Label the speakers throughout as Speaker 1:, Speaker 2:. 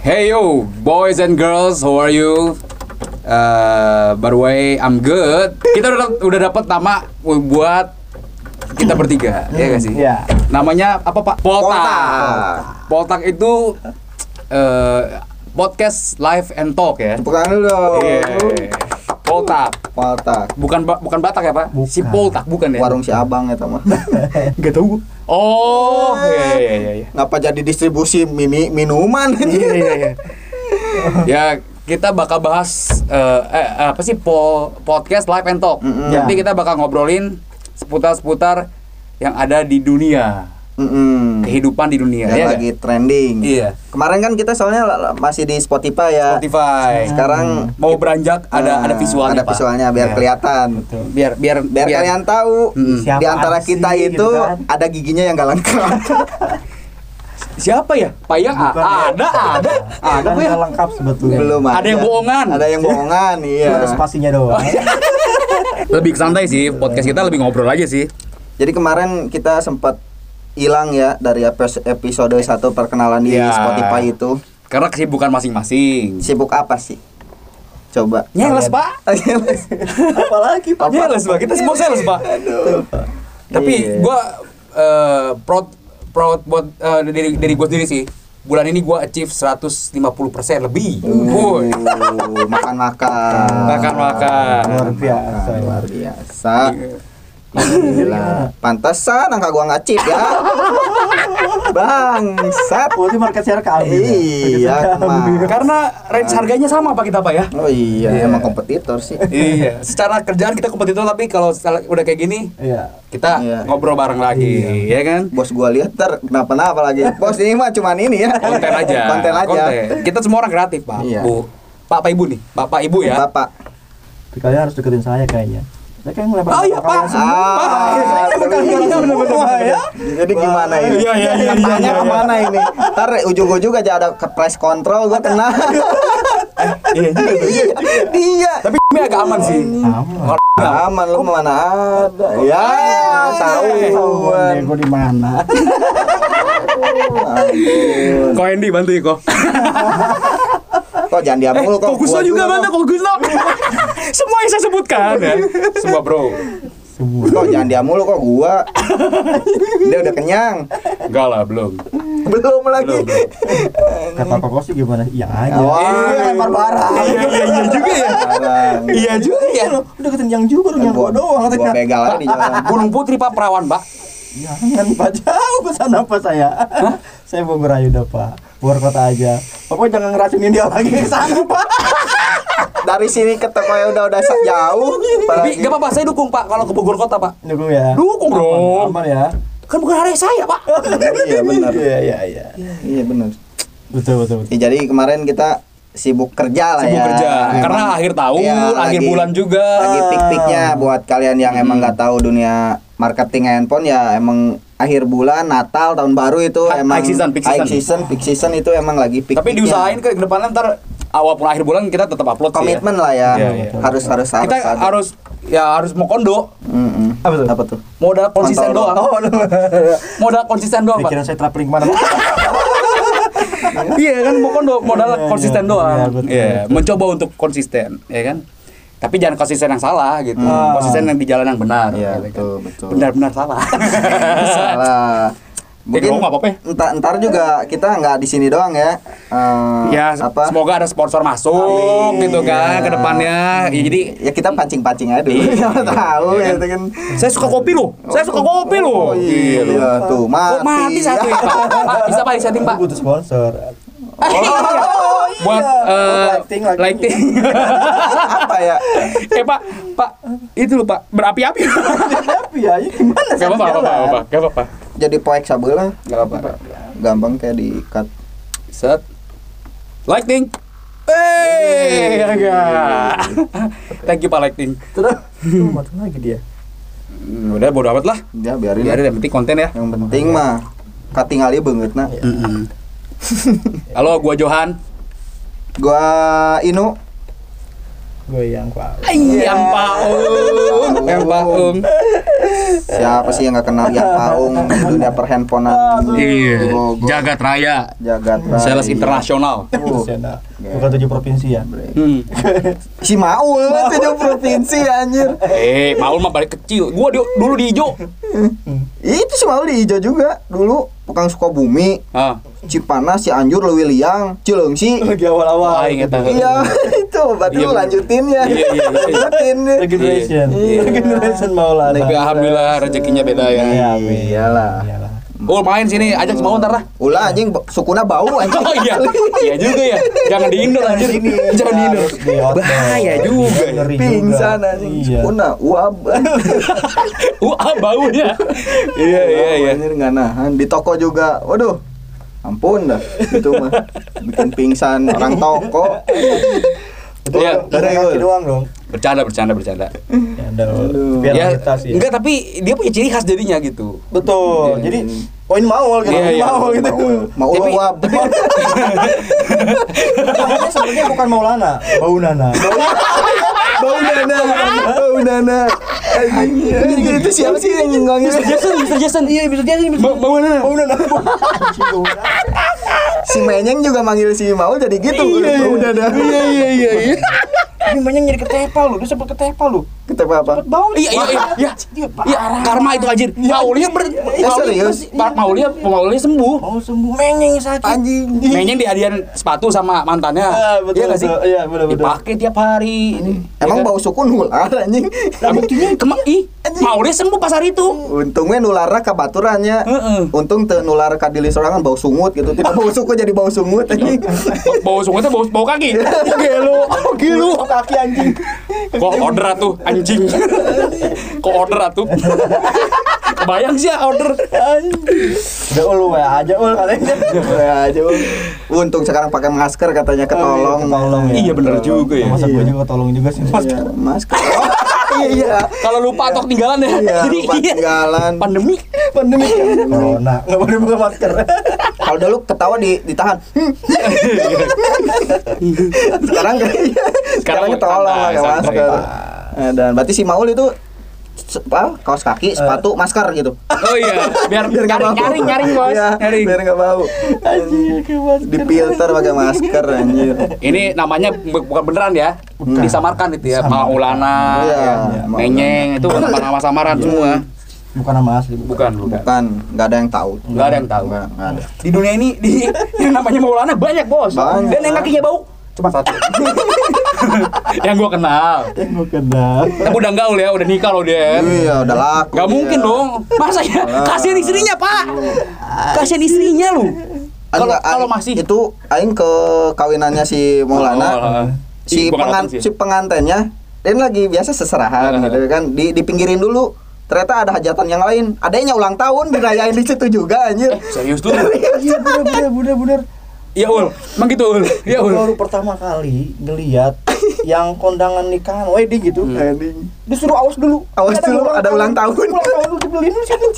Speaker 1: Hey yo, boys and girls, how are you? Uh, by the way, I'm good. Kita udah udah dapat nama buat kita bertiga, ya gak sih?
Speaker 2: Iya.
Speaker 1: Namanya apa Pak?
Speaker 3: Poltak.
Speaker 1: Poltak. Poltak itu eh, podcast live and talk ya.
Speaker 3: Bukan dulu dong.
Speaker 1: Iya. Poltak.
Speaker 3: Poltak.
Speaker 1: Bukan ba- bukan Batak ya Pak? Si
Speaker 2: Bukan.
Speaker 1: Poltak bukan ya?
Speaker 3: Warung si Abang ya teman.
Speaker 2: Gak tau gue.
Speaker 1: Oh, iya iya iya. iya.
Speaker 3: Ngapa jadi distribusi mimi minuman
Speaker 2: Iya iya iya.
Speaker 1: ya kita bakal bahas eh, eh, apa sih po- podcast live and talk.
Speaker 3: Mm-mm.
Speaker 1: Nanti
Speaker 2: Ya.
Speaker 1: kita bakal ngobrolin seputar-seputar yang ada di dunia,
Speaker 3: Mm-mm.
Speaker 1: kehidupan di dunia.
Speaker 3: Mm. Yang
Speaker 1: ya
Speaker 3: lagi trending.
Speaker 1: Iya.
Speaker 3: Kemarin kan kita soalnya la- la- masih di Spotify ya.
Speaker 1: Spotify.
Speaker 3: Sekarang
Speaker 1: mau beranjak ada
Speaker 3: Nah,
Speaker 1: ada visualnya.
Speaker 3: Ada
Speaker 1: Pak. Iya.
Speaker 3: visualnya biar
Speaker 1: Ya.
Speaker 3: kelihatan.
Speaker 1: Biar biar
Speaker 3: Biar kalian tahu
Speaker 1: Mm.
Speaker 2: Siapa
Speaker 3: di antara
Speaker 2: sih,
Speaker 3: kita
Speaker 2: gitu
Speaker 3: itu
Speaker 2: kan.
Speaker 3: ada giginya yang gak lengkap.
Speaker 1: siapa ya? Payang A-
Speaker 2: Bukan.
Speaker 1: ada ada ada
Speaker 2: Kan
Speaker 1: Pak, ya?
Speaker 2: nggak lengkap sebetulnya.
Speaker 3: Belum
Speaker 1: Ada yang bohongan.
Speaker 3: Ada yang bohongan, iya.
Speaker 2: Cuma Ada spasinya doang.
Speaker 1: Lebih santai sih podcast kita lebih ngobrol aja sih.
Speaker 3: Jadi kemarin kita sempat hilang ya dari epis- episode satu perkenalan di
Speaker 1: Iya.
Speaker 3: Spotify itu.
Speaker 1: Karena kesibukan masing-masing.
Speaker 3: Sibuk apa sih? Coba.
Speaker 1: Nyeles Pak.
Speaker 2: Apalagi Pak.
Speaker 1: Nyeles Pak. Iya Kita semua sales Pak.
Speaker 3: Iya.
Speaker 1: Tapi gua eh, proud proud buat eh, diri diri gua sendiri sih. Bulan ini gua achieve 150% lebih. Woi.
Speaker 3: Uh, makan-makan.
Speaker 1: Makan-makan.
Speaker 2: Luar biasa.
Speaker 3: Makan, Luar biasa. Gila. Pantesan angka gua ngacip ya. Bangsat.
Speaker 2: Berarti Oh, market share ke ya? Albi.
Speaker 3: Iya, Mak.
Speaker 1: Karena range harganya sama Pak kita Pak ya.
Speaker 3: Oh iya, emang kompetitor sih.
Speaker 1: Iya, secara kerjaan kita kompetitor tapi kalau secara- udah kayak gini
Speaker 2: Iya.
Speaker 1: kita
Speaker 3: Iya.
Speaker 1: ngobrol bareng lagi, ya kan?
Speaker 3: Bos gua lihat ter kenapa-napa lagi. Bos ini mah cuman ini ya.
Speaker 1: Konten aja.
Speaker 3: Konten aja.
Speaker 1: Konten. Kita semua orang kreatif, Pak.
Speaker 3: Iya.
Speaker 1: Bu. Bapak Ibu nih, Bapak Ibu ya.
Speaker 3: Bapak.
Speaker 2: Tapi kalian harus deketin saya kayaknya. Saya kayak ngelebar.
Speaker 1: Oh iya, Pak. Pak.
Speaker 3: Ah,
Speaker 1: Iya, bukan
Speaker 3: terus.
Speaker 1: orangnya bener-bener.
Speaker 2: ya.
Speaker 3: Jadi gimana ini?
Speaker 1: Iya, iya, iya, iya,
Speaker 3: Katanya
Speaker 1: iya.
Speaker 3: kemana ini? Ntar ujung-ujung aja ada ke press control, gua kena.
Speaker 1: Iya juga tuh.
Speaker 3: Iya, Dia.
Speaker 1: Tapi ini agak aman sih.
Speaker 2: Sama.
Speaker 3: Aman lu mana ada. Ya, tahu.
Speaker 1: Eh,
Speaker 2: Tahuan nego di mana?
Speaker 1: Kok Andy bantu ya, kok.
Speaker 3: Kok jangan diam
Speaker 1: Eh,
Speaker 3: mulu
Speaker 1: kok Gusto
Speaker 3: Gua
Speaker 1: juga
Speaker 3: dulu.
Speaker 1: bantu, kok Gusto. Semua yang saya sebutkan ya. Semua bro.
Speaker 2: Semua.
Speaker 3: Kok jangan diam mulu kok gua. Dia udah kenyang.
Speaker 1: Enggak lah, belum.
Speaker 3: Belum lagi.
Speaker 1: Belum, belum.
Speaker 2: Kata Pak Kos sih gimana? Iya aja.
Speaker 3: Oh,
Speaker 2: Iya, lempar barang.
Speaker 1: Iya, iya, iya juga ya.
Speaker 3: Barang.
Speaker 1: Iya juga ya.
Speaker 2: Iya, Udah ketenjang juga lu yang gua doang
Speaker 3: Kan Gua
Speaker 2: katanya.
Speaker 3: begal aja di jalan.
Speaker 1: Gunung Putri Pak Perawan, Pak.
Speaker 2: Iya, Jangan Pak jauh ke sana Pak saya. Saya mau Ayuda Pak. Luar kota aja. Pokoknya jangan ngeracunin dia lagi ke sana Pak.
Speaker 3: Dari sini ke toko yang udah udah jauh.
Speaker 1: Tapi
Speaker 3: apalagi.
Speaker 1: enggak apa-apa, saya dukung Pak kalau ke Bogor Kota, Pak.
Speaker 2: Dukung ya.
Speaker 1: Dukung
Speaker 2: Aman,
Speaker 1: dong.
Speaker 2: Aman ya.
Speaker 1: Kan bukan hari saya, Pak.
Speaker 3: Iya benar.
Speaker 2: Iya iya iya.
Speaker 3: Iya benar.
Speaker 2: Betul betul betul.
Speaker 3: Ya, jadi kemarin kita sibuk kerja lah
Speaker 1: Sibuk
Speaker 3: ya.
Speaker 1: kerja.
Speaker 3: Emang-
Speaker 1: Karena akhir tahun,
Speaker 3: Iya,
Speaker 1: akhir
Speaker 3: lagi-
Speaker 1: bulan juga. Hmm.
Speaker 3: Lagi pik-piknya buat kalian yang emang nggak tahu dunia marketing handphone ya emang akhir bulan Natal tahun baru itu
Speaker 1: High-
Speaker 3: emang
Speaker 1: high season, peak
Speaker 3: high
Speaker 1: season.
Speaker 3: season, peak season itu emang lagi pik.
Speaker 1: Tapi diusahain ke depannya ntar awal pun akhir bulan kita tetap upload sih ya.
Speaker 3: komitmen lah ya.
Speaker 1: Iya, iya.
Speaker 3: Harus harus harus.
Speaker 1: Kita
Speaker 3: ada.
Speaker 1: harus ya harus mau kondo,
Speaker 3: Mm-mm.
Speaker 2: Apa tuh?
Speaker 3: Apa tuh?
Speaker 1: modal konsisten
Speaker 3: Kontol.
Speaker 1: doang. modal konsisten doang, Pak.
Speaker 2: Pikiran saya traveling kemana Pak?
Speaker 1: Iya kan bukan do modal
Speaker 2: Iya, iya,
Speaker 1: konsisten
Speaker 2: iya,
Speaker 1: doang.
Speaker 2: betul,
Speaker 1: Iya, mencoba untuk konsisten, ya kan? Tapi jangan konsisten yang salah gitu. Konsisten yang di jalan yang benar. gitu
Speaker 3: Iya,
Speaker 1: kan.
Speaker 3: betul, betul.
Speaker 1: Benar-benar salah.
Speaker 3: Salah. Mungkin
Speaker 1: doang nggak apa-apa ya?
Speaker 3: entar entar juga kita nggak di sini doang ya. Eh,
Speaker 1: ya, se-
Speaker 3: apa?
Speaker 1: semoga ada sponsor masuk
Speaker 3: Amin,
Speaker 1: gitu kan
Speaker 3: iya.
Speaker 1: ke depannya. Ya, jadi
Speaker 3: Ya kita pancing-pancing aja dulu. Siapa tahu
Speaker 1: iya
Speaker 3: ya
Speaker 1: kan?
Speaker 3: itu kan.
Speaker 1: saya suka kopi loh. Saya suka kopi loh.
Speaker 3: Oh, iya,
Speaker 1: Gila. Kok
Speaker 3: tuh mati.
Speaker 1: mati satu ya, Pak? Pak, bisa Pak disetting, Pak?
Speaker 2: Butuh sponsor.
Speaker 1: Buat eh,
Speaker 2: lighting lagi.
Speaker 1: lighting.
Speaker 3: apa ya?
Speaker 1: eh, Pak, Pak, itu loh, Pak, berapi-api.
Speaker 2: Tapi ya, ya gimana
Speaker 1: Gak
Speaker 2: saya
Speaker 1: apa-apa, gak
Speaker 2: jalan?
Speaker 1: apa-apa, gak apa-apa.
Speaker 3: Jadi poek sabelah.
Speaker 1: Gak apa-apa.
Speaker 3: Gampang kayak diikat.
Speaker 1: Set. Lightning. Hey, agak. Thank you Pak Lightning.
Speaker 2: Terus tuh, mati lagi dia.
Speaker 1: Hmm, Udah bodo amat lah.
Speaker 3: Ya biarin.
Speaker 1: Biar yang penting konten ya.
Speaker 3: Yang penting mah katingali banget nah.
Speaker 1: Iya. Halo, gua Johan.
Speaker 3: Gua Inu
Speaker 2: Gue yang Pak.
Speaker 1: Yang Paul. Yang paung.
Speaker 3: Siapa sih yang gak kenal yang paung di dunia perhandphonean?
Speaker 1: Iya.
Speaker 3: Gogo.
Speaker 1: Jagat raya.
Speaker 3: Jagat raya.
Speaker 1: Sales internasional.
Speaker 3: Oh.
Speaker 2: Sana. ya, Bukan tujuh provinsi ya.
Speaker 1: Hmm.
Speaker 3: Si Maul lah tujuh provinsi anjir.
Speaker 1: Eh, Paul mah balik kecil. Gua di- dulu di hijau.
Speaker 3: Itu si Maul di hijau juga dulu Pekang Sukabumi,
Speaker 1: Ah.
Speaker 3: Cipanas, Cianjur, Lewiliang, Cileungsi.
Speaker 2: Lagi awal-awal.
Speaker 1: Ah, ingat aku.
Speaker 3: Iya, itu berarti
Speaker 1: Iya,
Speaker 3: lu
Speaker 1: bener.
Speaker 3: lanjutin ya.
Speaker 1: Iya, iya, iya.
Speaker 3: Lanjutin.
Speaker 2: Regeneration.
Speaker 3: Iya.
Speaker 2: Regeneration Maulana.
Speaker 1: Tapi alhamdulillah rezekinya beda ya.
Speaker 2: Iya, amin.
Speaker 3: Iyalah.
Speaker 2: Iyalah.
Speaker 1: Oh, main sini ajak semua ntar lah.
Speaker 3: Ulah anjing sukuna bau anjing.
Speaker 1: Oh iya, iya juga ya. Jangan di indoor anjir.
Speaker 2: Ini
Speaker 1: Jangan di indoor.
Speaker 2: harus di outdoor.
Speaker 1: Bahaya juga. ya.
Speaker 2: iya, Ngeri
Speaker 3: Pingsan
Speaker 2: juga.
Speaker 3: anjing
Speaker 2: Iya.
Speaker 3: sukuna uab.
Speaker 1: Wah, baunya. Iya, iya, iya.
Speaker 3: Anjir nggak nahan di toko juga. Waduh. Ampun dah itu mah bikin pingsan orang toko.
Speaker 2: Itu
Speaker 1: Iya,
Speaker 2: dari
Speaker 3: dari
Speaker 2: kaki
Speaker 3: gol.
Speaker 2: doang dong.
Speaker 1: Bercanda, bercanda, bercanda.
Speaker 2: Ya, ada
Speaker 1: Ya,
Speaker 2: biar lantas ya.
Speaker 1: enggak tapi dia punya ciri khas jadinya gitu.
Speaker 2: Betul.
Speaker 3: Iya.
Speaker 2: Jadi poin Maul gitu,
Speaker 1: Iya, iya.
Speaker 2: Maul gitu.
Speaker 3: Mau
Speaker 1: Tapi-
Speaker 3: uab.
Speaker 2: Namanya sebenarnya bukan Maulana, Baunana.
Speaker 3: Bau nana, bau nana. Anjing, anjing,
Speaker 2: gitu.
Speaker 3: itu siapa sih yang ngomongin?
Speaker 1: Jason, Mr. Jason. Iya, Mr. Jason. Baunya.
Speaker 2: Baunana. Baunana.
Speaker 3: Si Menyeng juga manggil si Maul jadi gitu. Bau nana.
Speaker 1: Iya, iya, iya, iya.
Speaker 2: Ini banyak nyari ketepa lu, dia sebut ketepa lu.
Speaker 3: Ketemu apa?
Speaker 2: Bau
Speaker 1: Iya, iya, iya, iya.
Speaker 2: Dia Iya,
Speaker 1: Iya, karma itu anjir. Maulia ber
Speaker 3: serius?
Speaker 1: Maulia- Maulia Maulia sembuh.
Speaker 2: Mau sembuh menyeng sakit.
Speaker 3: Anjing.
Speaker 1: Mainnya di hadiah sepatu sama mantannya.
Speaker 2: Ah, betul,
Speaker 1: Iya nggak sih?
Speaker 2: betul. Iya, benar, benar.
Speaker 1: Dipakai tiap hari. Iya.
Speaker 3: Emang bau sukun ular anjing.
Speaker 1: Lah buktinya kema- ih, Maulia sembuh pas hari itu.
Speaker 3: Untungnya nularnya ke baturannya.
Speaker 1: Heeh.
Speaker 3: Untung teu nular ka dili sorangan bau sungut gitu. Tidak bau suku jadi bau sungut anjing.
Speaker 1: Ba- Bau sungatnya bau bau kaki.
Speaker 2: Iya.
Speaker 1: Gelo, gelo.
Speaker 2: Bulu kaki anjing.
Speaker 1: Kok order tuh anjing. Kok order tuh. Kebayang sih ya order.
Speaker 2: Anjing. Udah ul wa aja ul katanya.
Speaker 3: Ya, jauh. Untung sekarang pakai masker katanya ketolong.
Speaker 2: Ketolong ya.
Speaker 1: Iya, bener juga ya.
Speaker 2: Masa gue juga tolong juga sih.
Speaker 3: Iya, masker. Oh, iya iya.
Speaker 1: Kalau lupa atau ketinggalan ya.
Speaker 3: Iya,
Speaker 1: Jadi
Speaker 3: lupa
Speaker 1: iya.
Speaker 3: ketinggalan.
Speaker 1: Pandemi.
Speaker 2: pandemi kan? corona nggak boleh buka masker
Speaker 3: Kalau dulu ketawa di ditahan. Hmm. sekarang kan- sekarang ketolong
Speaker 1: santai,
Speaker 3: pakai
Speaker 1: santai.
Speaker 3: masker. Eh, Dan berarti si Maul itu se- apa, kaos kaki, sepatu, masker gitu.
Speaker 1: Oh iya, biar
Speaker 3: Eh. Biar nggak
Speaker 1: nyaring,
Speaker 3: bau.
Speaker 1: nyaring, nyaring, Bos.
Speaker 3: Iya,
Speaker 1: Nyaring.
Speaker 3: Biar nggak bau.
Speaker 2: anjir ke masker
Speaker 3: Di filter pakai masker anjir.
Speaker 1: Ini namanya bu- bukan beneran ya. Disamarkan itu ya.
Speaker 2: Samaran.
Speaker 1: Maulana,
Speaker 3: Iya,
Speaker 1: ya.
Speaker 3: Maulana. Iya.
Speaker 1: Menyeng itu nama-nama samaran semua.
Speaker 2: bukan nama asli
Speaker 1: Bukan, bukan.
Speaker 3: Bukan, Kan, nggak ada yang tahu.
Speaker 1: Nggak ada yang tahu.
Speaker 3: Nggak nggak ada.
Speaker 1: Di dunia ini di yang namanya Maulana banyak, Bos.
Speaker 3: Banyak.
Speaker 1: Dan yang kakinya bau cuma satu. yang gua kenal.
Speaker 2: bukan dah
Speaker 1: Tapi udah gaul ya, udah nikah loh dia.
Speaker 3: Iya, udah laku.
Speaker 1: Gak mungkin
Speaker 3: Iya.
Speaker 1: dong. Masa ya? Kasihan istrinya, Pak. Kasihan istrinya lu. Kalau
Speaker 3: Enggak,
Speaker 1: kalau
Speaker 3: aing-
Speaker 1: masih
Speaker 3: itu aing ke kawinannya si Maulana.
Speaker 1: Oh, Ih,
Speaker 3: si
Speaker 1: gua nggak
Speaker 3: pengan
Speaker 1: datang sih.
Speaker 3: si pengantennya dan lagi biasa seserahan
Speaker 1: Ah.
Speaker 3: gitu kan di dipinggirin dulu ternyata ada hajatan yang lain adanya ulang tahun dirayain di situ juga anjir
Speaker 1: serius tuh.
Speaker 2: iya bener bener bener bener
Speaker 1: Ya ul, emang gitu ul. Ya
Speaker 2: Gua
Speaker 1: ul.
Speaker 2: baru pertama kali ngeliat yang kondangan nikahan wedding gitu disuruh awas dulu
Speaker 3: Awas dulu, ada ulang tahun.
Speaker 2: ulang tahun lu dibeliin lu sini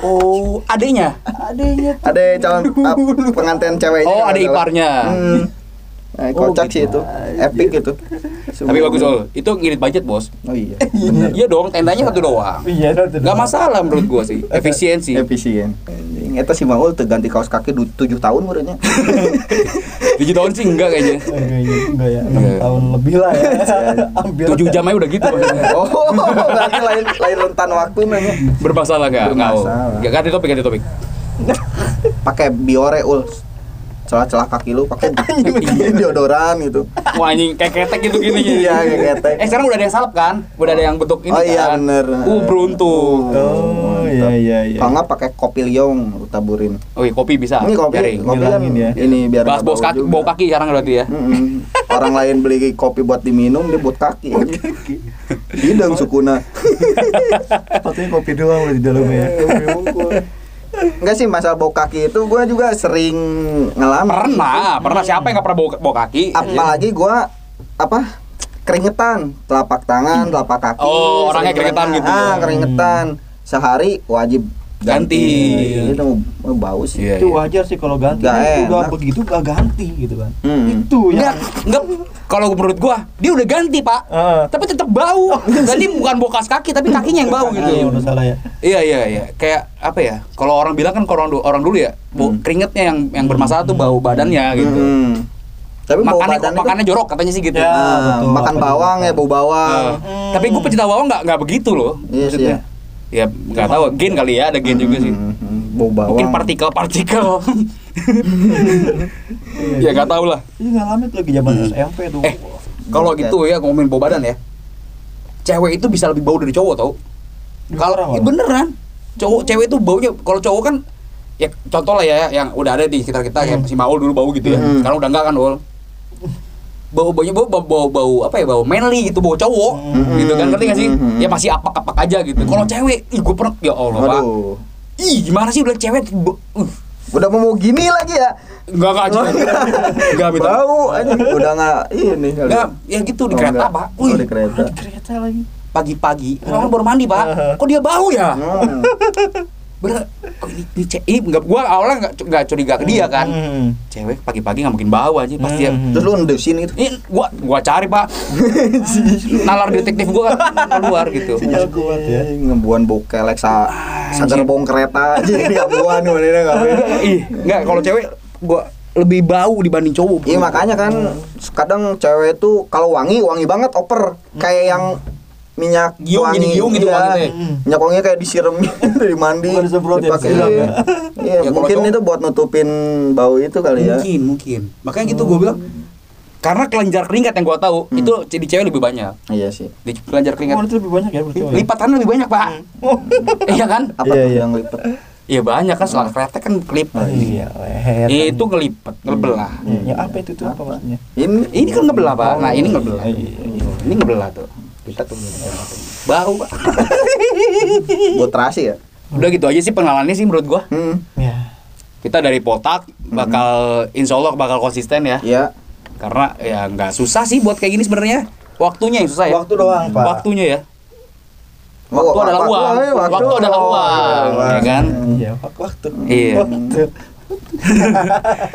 Speaker 1: Oh, adenya.
Speaker 2: adanya tuh
Speaker 3: ada calon ah, pengantin ceweknya
Speaker 1: Oh,
Speaker 3: kalau
Speaker 1: ada
Speaker 3: nggak salah.
Speaker 1: iparnya.
Speaker 3: hmm. Nah,
Speaker 2: Oh,
Speaker 3: kocak
Speaker 2: gitu.
Speaker 3: sih itu epic gitu
Speaker 1: Tapi bagus ul. Itu ngirit budget, Bos.
Speaker 3: oh iya bener
Speaker 1: Iya dong, tendanya satu doang.
Speaker 2: iya nanti
Speaker 1: Gak masalah menurut gua sih.
Speaker 3: Iya.
Speaker 1: Efisiensi.
Speaker 3: efisien anjing eta si Maul tuh ganti kaos kaki du- tujuh tahun muridnya
Speaker 1: 7 tahun sih enggak kayaknya.
Speaker 2: enggak iya, enggak ya enam
Speaker 1: Iya.
Speaker 2: tahun lebih lah ya hampir
Speaker 1: 7 jam aja udah gitu.
Speaker 3: oh berarti lain lain rentan waktu nanya
Speaker 1: Bermasalah enggak? Enggak. Ul.
Speaker 3: Bermasalah.
Speaker 1: Ya ganti topik, ganti topik.
Speaker 3: pakai biore ul celah-celah kaki lu pakai deodoran gitu
Speaker 1: Wah anjing kayak ketek gitu gini.
Speaker 3: Iya, kayak ketek.
Speaker 1: Eh sekarang udah ada yang salep kan? Udah ada yang bentuk ini
Speaker 3: Oh iya,
Speaker 1: kan?
Speaker 3: bener.
Speaker 1: Uh beruntung.
Speaker 2: oh iya iya iya
Speaker 3: kalau nggak pakai kopi liong lu taburin
Speaker 1: Oh iya kopi bisa.
Speaker 3: ini kopi
Speaker 1: Garing.
Speaker 3: kopi kan
Speaker 2: Ngilangin ya.
Speaker 3: ini biar
Speaker 1: Bahas
Speaker 3: nggak
Speaker 1: bau
Speaker 3: bau
Speaker 1: kaki,
Speaker 3: juga.
Speaker 1: bau kaki sekarang berarti ya.
Speaker 3: Mm-mm. orang lain beli kopi buat diminum dia buat kaki hidang sukuna
Speaker 2: sepatunya kopi doang udah di dalamnya ya
Speaker 1: Iya,
Speaker 3: Enggak sih masalah bau kaki itu gue juga sering ngalamin
Speaker 1: Pernah, pernah siapa yang gak pernah bau, bau kaki? Iya.
Speaker 3: apalagi gue apa keringetan telapak tangan telapak kaki
Speaker 1: Oh, orangnya
Speaker 3: sering
Speaker 1: keringetan
Speaker 3: keringetan.
Speaker 1: gitu ya.
Speaker 3: ah keringetan sehari wajib
Speaker 1: ganti.
Speaker 3: Itu oh, bau sih.
Speaker 1: Iya,
Speaker 2: itu
Speaker 1: iya.
Speaker 2: wajar sih kalau ganti
Speaker 3: Nggak
Speaker 2: Ini juga
Speaker 3: enak.
Speaker 2: begitu gak ganti gitu kan
Speaker 3: Hmm.
Speaker 2: itu
Speaker 1: Enggak,
Speaker 2: yang
Speaker 1: enggak. Kalau menurut gua, dia udah ganti, Pak.
Speaker 3: Eh.
Speaker 2: Heeh.
Speaker 1: Tapi tetap bau.
Speaker 3: Oh, iya
Speaker 1: Jadi bukan bokas kaki, tapi kakinya yang bau
Speaker 2: Iya,
Speaker 1: gitu.
Speaker 2: udah salah ya
Speaker 1: Iya iya iya. Kayak apa ya? Kalau orang bilang kan kalau orang, du- orang dulu ya, bau keringetnya yang yang bermasalah tuh bau badannya gitu.
Speaker 3: Hmm. Tapi bau kan?
Speaker 1: Makannya
Speaker 3: badan itu
Speaker 1: makannya jorok katanya sih gitu.
Speaker 2: Ya,
Speaker 3: Ah,
Speaker 2: betul.
Speaker 3: makan
Speaker 2: Apa
Speaker 3: bawang ya bau bawang.
Speaker 1: Eh, Tapi gue pecinta bawang nggak nggak begitu loh.
Speaker 3: Iya sih,
Speaker 1: maksudnya. Ya nggak tahu gen kali ya ada gen juga sih.
Speaker 3: Hmm, hmm, Bau bawang.
Speaker 1: Mungkin partikel-partikel. ya nggak tahu lah.
Speaker 2: ini ngalamin tuh lagi zaman SMP tuh
Speaker 1: Eh,
Speaker 3: Iya.
Speaker 1: kalau gitu ya ngomongin bau badan ya. Cewek itu bisa lebih bau dari cowok tau. Kalau
Speaker 2: Beneran,
Speaker 1: eh,
Speaker 2: Bang?
Speaker 1: beneran, cowok cewek itu baunya kalau cowok kan ya contoh lah ya yang udah ada di sekitar kita kayak si Maul dulu bau gitu ya.
Speaker 3: Hmm.
Speaker 1: Sekarang udah enggak kan Ul? Bau baunya bau bau, bau bau apa ya bau manly gitu bau cowok
Speaker 3: Hmm.
Speaker 1: gitu kan ngerti gak sih?
Speaker 3: Hmm.
Speaker 1: Ya masih apak-apak aja gitu. Kalau cewek, ih gue pernah ya Allah Pak.
Speaker 3: Waduh.
Speaker 1: Ih gimana sih udah cewek bau- uh,
Speaker 3: Udah mau gini lagi ya.
Speaker 1: enggak enggak aja. Enggak minta.
Speaker 3: Bau anjing. Udah enggak ini kali.
Speaker 1: Enggak, ya gitu di
Speaker 3: Oh,
Speaker 1: kereta
Speaker 3: enggak.
Speaker 1: Pak.
Speaker 3: Oh,
Speaker 1: Wih,
Speaker 3: di kereta.
Speaker 2: kereta lagi
Speaker 1: pagi-pagi orang baru mandi
Speaker 3: Uh-huh.
Speaker 1: pak kok dia bau ya
Speaker 3: Hmm.
Speaker 1: bener kok ini ini cewek ini nggak gua awalnya nggak cu- nggak curiga ke dia kan
Speaker 2: Hmm.
Speaker 1: cewek pagi-pagi nggak mungkin bau aja pasti dia
Speaker 2: Hmm.
Speaker 3: Terus lu ndesin gitu.
Speaker 1: ini gua gua cari pak nalar detektif gua kan keluar gitu
Speaker 2: Sinyal kuat ya
Speaker 3: Ngebuan bau kelek sa sagar bong kereta aja ini ngebuan mana ini nggak beda.
Speaker 1: ih nggak kalau cewek gua lebih bau dibanding cowok
Speaker 3: Iya makanya kan kadang cewek itu kalau wangi wangi banget oper kayak yang minyak
Speaker 1: Giung,
Speaker 3: wangi
Speaker 1: gini, giung gitu
Speaker 3: Iya.
Speaker 1: wanginya.
Speaker 3: minyak wanginya kayak disiram dari mandi
Speaker 2: Bukan disemprot ya,
Speaker 3: dipakai
Speaker 2: disiram ya.
Speaker 3: iya
Speaker 1: Ya, kalau
Speaker 3: mungkin
Speaker 1: cowok-
Speaker 3: itu buat nutupin bau itu kali ya
Speaker 1: mungkin mungkin makanya gitu gua bilang karena kelenjar keringat yang gua tahu itu jadi cewek lebih banyak
Speaker 3: iya sih
Speaker 1: di kelenjar
Speaker 2: Hmm. Oh,
Speaker 1: keringat
Speaker 2: itu lebih banyak ya berarti oh, ya? Oh,
Speaker 1: lipatannya lebih banyak pak iya kan
Speaker 3: apa
Speaker 2: Iya,
Speaker 3: tuh
Speaker 2: iya.
Speaker 3: yang lipat
Speaker 1: Iya banyak kan selang kretek kan kelipat.
Speaker 2: Ah, iya leher
Speaker 1: itu ngelipet, ngebelah.
Speaker 2: Iya, ya, apa itu tuh apa maksudnya
Speaker 3: ini
Speaker 1: Ini kan ngebelah, Pak. Nah, ini ngebelah.
Speaker 2: Iya, iya, iya.
Speaker 1: Ini ngebelah tuh. Kita tuh ngebelah. bau, Pak.
Speaker 3: buat terasi ya
Speaker 1: Udah gitu aja sih pengenalannya sih menurut gua.
Speaker 3: hmm.
Speaker 2: ya
Speaker 1: Kita dari potak bakal
Speaker 2: Mm-hmm.
Speaker 1: insya Allah bakal konsisten ya.
Speaker 3: iya
Speaker 1: Karena ya nggak susah sih buat kayak gini sebenarnya. Waktunya yang susah ya.
Speaker 2: Waktu doang, Pak.
Speaker 1: Waktunya ya.
Speaker 3: Oh,
Speaker 1: Waktu adalah uang.
Speaker 3: eh,
Speaker 1: Waktu adalah uang, ya kan?
Speaker 2: iya wak- waktu
Speaker 1: Iya.
Speaker 2: waktu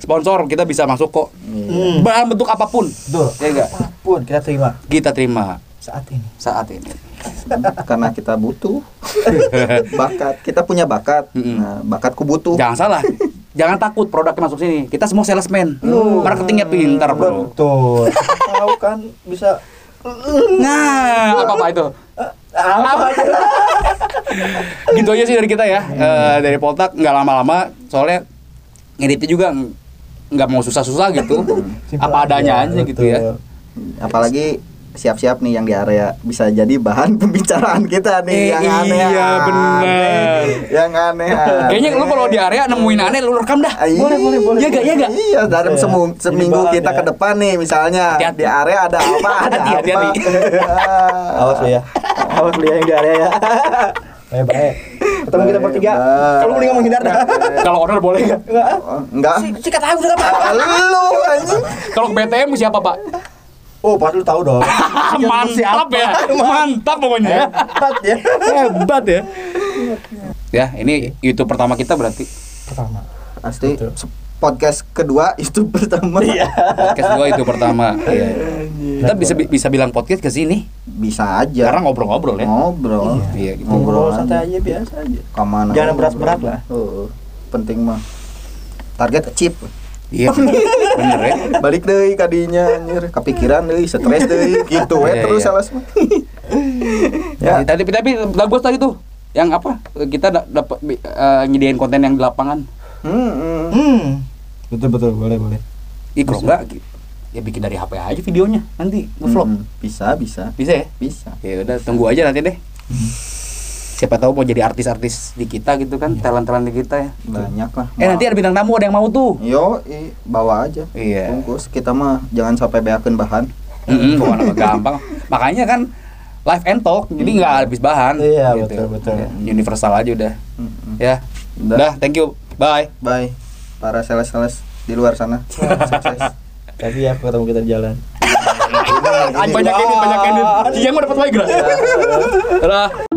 Speaker 1: Sponsor kita bisa masuk kok.
Speaker 3: Iya.
Speaker 1: Bahan bentuk apapun
Speaker 2: Hmm. betul
Speaker 1: Iya nggak?
Speaker 2: apapun kita terima
Speaker 1: kita terima
Speaker 2: saat ini
Speaker 1: saat ini.
Speaker 3: karena kita butuh bakat kita punya bakat
Speaker 1: Mm-mm. Ya.
Speaker 3: nah, bakatku butuh
Speaker 1: Jangan salah. Jangan takut produknya masuk sini. Kita semua salesman. Marketingnya pintar, Bro.
Speaker 2: betul tahu kan bisa
Speaker 1: Nah, apa-apa itu?
Speaker 2: apa aja
Speaker 1: Gitu aja sih dari kita ya. Eh, dari Poltak nggak lama-lama soalnya ngeditnya juga ng- nggak mau susah-susah gitu.
Speaker 2: Simpel
Speaker 1: apa adanya aja gitu ya.
Speaker 2: betul.
Speaker 3: apalagi siap-siap nih yang di area bisa jadi bahan pembicaraan
Speaker 1: Eh,
Speaker 3: kita nih yang aneh
Speaker 1: iya, bener.
Speaker 3: yang aneh
Speaker 1: Kayaknya lu kalau di area nemuin aneh lu rekam dah.
Speaker 2: Boleh, boleh, boleh.
Speaker 1: Iya gak, iya gak?
Speaker 3: iya dalam
Speaker 2: Bisa ya.
Speaker 3: semu-
Speaker 2: Jadi
Speaker 3: seminggu
Speaker 2: bahan
Speaker 3: kita
Speaker 2: ya.
Speaker 3: ke depan nih misalnya
Speaker 1: Hati-hati.
Speaker 3: di area ada apa ada
Speaker 1: Hati-hati,
Speaker 3: apa
Speaker 1: hati-hati.
Speaker 2: awas lu ya
Speaker 3: awas lu ya yang di area ya
Speaker 2: baik baik ketemu kita bertiga kalau mendingan menghindar dah ah.
Speaker 1: Kalau order boleh nggak?
Speaker 3: Oh, enggak
Speaker 2: sikat aku sikat aku
Speaker 3: Ah, lu anjing
Speaker 1: Kalau BTM siapa, Pak?
Speaker 2: oh pas lu tahu dong
Speaker 1: Mantap ya. Mantap pokoknya ya.
Speaker 2: Cepat ya
Speaker 1: Hebat ya. Ya, ini YouTube pertama kita berarti.
Speaker 2: pertama
Speaker 3: pasti
Speaker 2: Betul.
Speaker 3: se- podcast kedua itu pertama
Speaker 1: Iya. podcast gua itu pertama Iya. kita bisa bisa bilang podcast ke sini
Speaker 3: bisa aja
Speaker 1: karena ngobrol-ngobrol ya
Speaker 3: ngobrol
Speaker 1: Iya, gitu.
Speaker 2: ngobrol
Speaker 3: aja.
Speaker 2: santai aja biasa aja
Speaker 3: Kemana?
Speaker 2: Jangan berat-berat lah.
Speaker 3: Heeh. penting mah. Target chip.
Speaker 1: iya bener Bener ya
Speaker 3: Balik deh kadinya anjir, kepikiran deh, stres deh, gitu we
Speaker 1: Iya,
Speaker 3: terus
Speaker 1: iya.
Speaker 3: alas mah.
Speaker 1: ya. tadi tapi bagus tadi tuh yang apa kita da- dapat bi- eh, nyediain konten yang di lapangan
Speaker 3: Hmm.
Speaker 2: hmm betul betul boleh boleh
Speaker 1: Ih, kalau enggak gi- ya bikin dari HP aja videonya nanti ngevlog
Speaker 3: Hmm, Bisa, bisa.
Speaker 1: bisa ya
Speaker 3: Bisa.
Speaker 1: ya udah tunggu aja nanti deh siapa tahu mau jadi artis-artis di kita gitu kan talent-talent di kita ya
Speaker 3: Banyak lah.
Speaker 1: eh nanti ada bintang tamu ada yang mau tuh
Speaker 3: Yo, i, bawa aja.
Speaker 1: Iya.
Speaker 3: Bungkus kita mah jangan sampai beakeun bahan. Hmm.
Speaker 1: Mm-mm, bukan apa Hmm, gampang. Makanya kan live and talk, jadi nggak habis bahan.
Speaker 2: Iya, betul, betul.
Speaker 1: Ya, Universal aja udah.
Speaker 3: Mm-mm.
Speaker 1: Ya,
Speaker 3: Udah.
Speaker 1: udah. Thank you. Bye.
Speaker 3: Hmm. Bye para sales-sales di luar sana. Sukses.
Speaker 2: tapi ya ketemu kita di jalan
Speaker 1: banyak edit, banyak edit. Yang mau dapat migran. Dadah.